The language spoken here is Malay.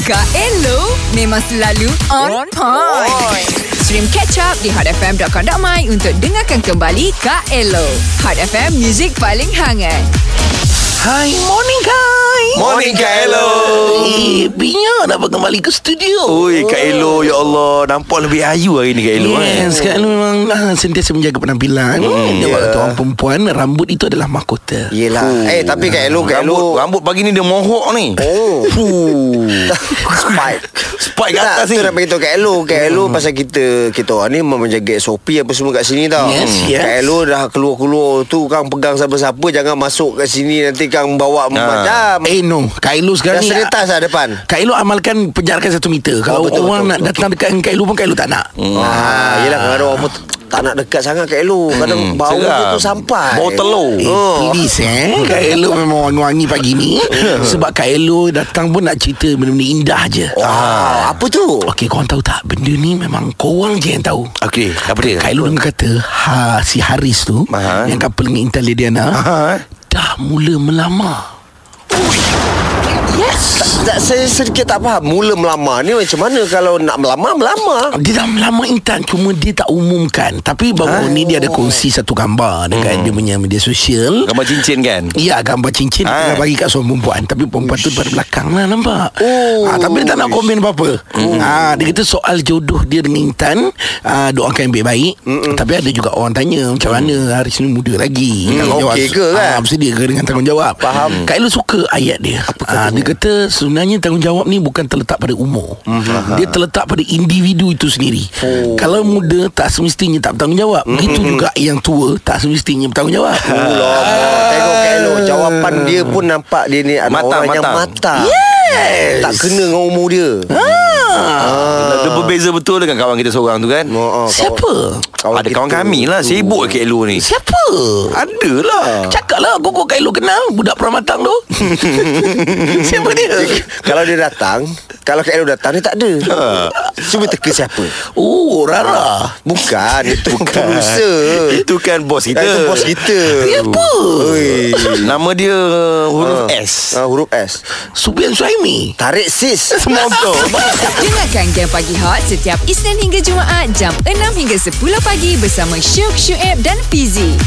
Kak Elo memang selalu on point. Stream catch up di hotfm.com.my untuk dengarkan kembali Kak Elo. Hot FM, music paling hangat. Hai, morning guys. Morning, Kak Elo. Eh, Bia dapat kembali ke studio. Oh. Oi, Kak Elo, ya Allah. Nampak lebih ayu hari ni, Kak Elo. Yes, eh. sekarang memang lah, sentiasa menjaga penampilan. Hmm, ya. yeah. orang perempuan, rambut itu adalah mahkota. Yelah Fuh. Eh tapi Kak Elo Kak Rambut, Elo rambut pagi ni dia mohok ni. Oh Fuh. Spike Spike kat atas Tak, ni. tu nak beritahu Kak Elo Kak Elo Hmm. pasal kita Kita orang ni menjaga SOP apa semua kat sini tau Yes, Hmm. yes. Kak Elo dah keluar-keluar tu Kang pegang siapa-siapa Jangan masuk kat sini Nanti Kang Ah. bawa Ah, macam Eh ah. no Kailu Dah sekarang ni seretas lah depan Kailu amalkan penjarakan satu meter Kalau betul, orang betul, nak datang dekat dengan Kailu pun Kailu tak nak Ah, yelah kadang orang pun tak nak dekat sangat Hmm, Kak Elo Kadang bau seram. dia tu sampai Bau telur. Eh, Oh. please eh Kak Elo memang wangi-wangi pagi ni Sebab Kak Elo datang pun nak cerita benda-benda indah je Ah, apa tu? Okey korang tahu tak Benda ni memang korang je yang tahu Okey, apa dia? Kak Elo dengar kata ha, Si Haris tu Aha. Yang couple dengan Intan Lidiana Aha. Dah mula melamar Yes Tak, saya sedikit tak faham Mula melamar ni macam mana Kalau nak melamar, melamar Dia dah lama Intan Cuma dia tak umumkan Tapi baru ni dia ada kongsi satu gambar Dekat dia punya media sosial Ah. Hmm. Gambar cincin kan? Ya gambar cincin Ah. ha. Tengah bagi kat seorang perempuan Tapi perempuan tu pada belakang lah nampak Oh. Hmm. ha, Tapi dia tak nak komen apa-apa ha, Dia kata soal jodoh dia dengan Intan ha, Doakan yang baik-baik Tapi ada juga orang tanya Macam mana Haris ni muda lagi Tanggungjawab- Mm. okey ke kan? ha, Bersedia ke dengan tanggungjawab Faham. Kak Ella suka ayat dia ha, Dia kata sebenarnya tanggungjawab ni Bukan terletak pada umur Mm-hmm. Dia terletak pada individu itu sendiri oh. Kalau muda tak semestinya tak bertanggungjawab Begitu Mm-hmm. juga yang tua Tak semestinya bertanggungjawab Ulam lah, Tengok Kak Elo Jawapan dia pun nampak Dia ni ada Matang, orang yang matang. matang yes. Tak kena dengan umur dia Dia berbeza betul dengan kawan kita seorang tu kan? Ah. oh, Siapa? kawan Ada kita. kawan kami lah Sibuk Kak Elo ni lah. Siapa? Ah. Adalah Cakaplah Koko Kailo kenal Budak Pramatang tu Siapa dia? Kalau dia datang Kalau Kak Elo datang Dia tak ada Ha. Cuba teka siapa Oh Rara Ha. Bukan Itu producer Itu kan bos kita Itu bos kita Siapa? Oi. Nama dia uh, huruf Ah. S Ah, Huruf S Supian Suhaimi Tarik sis Semua betul Dengarkan Game Pagi Hot setiap Isnin hingga Jumaat jam 6 hingga 10 pagi bersama Syuk, Syuib dan Fizi.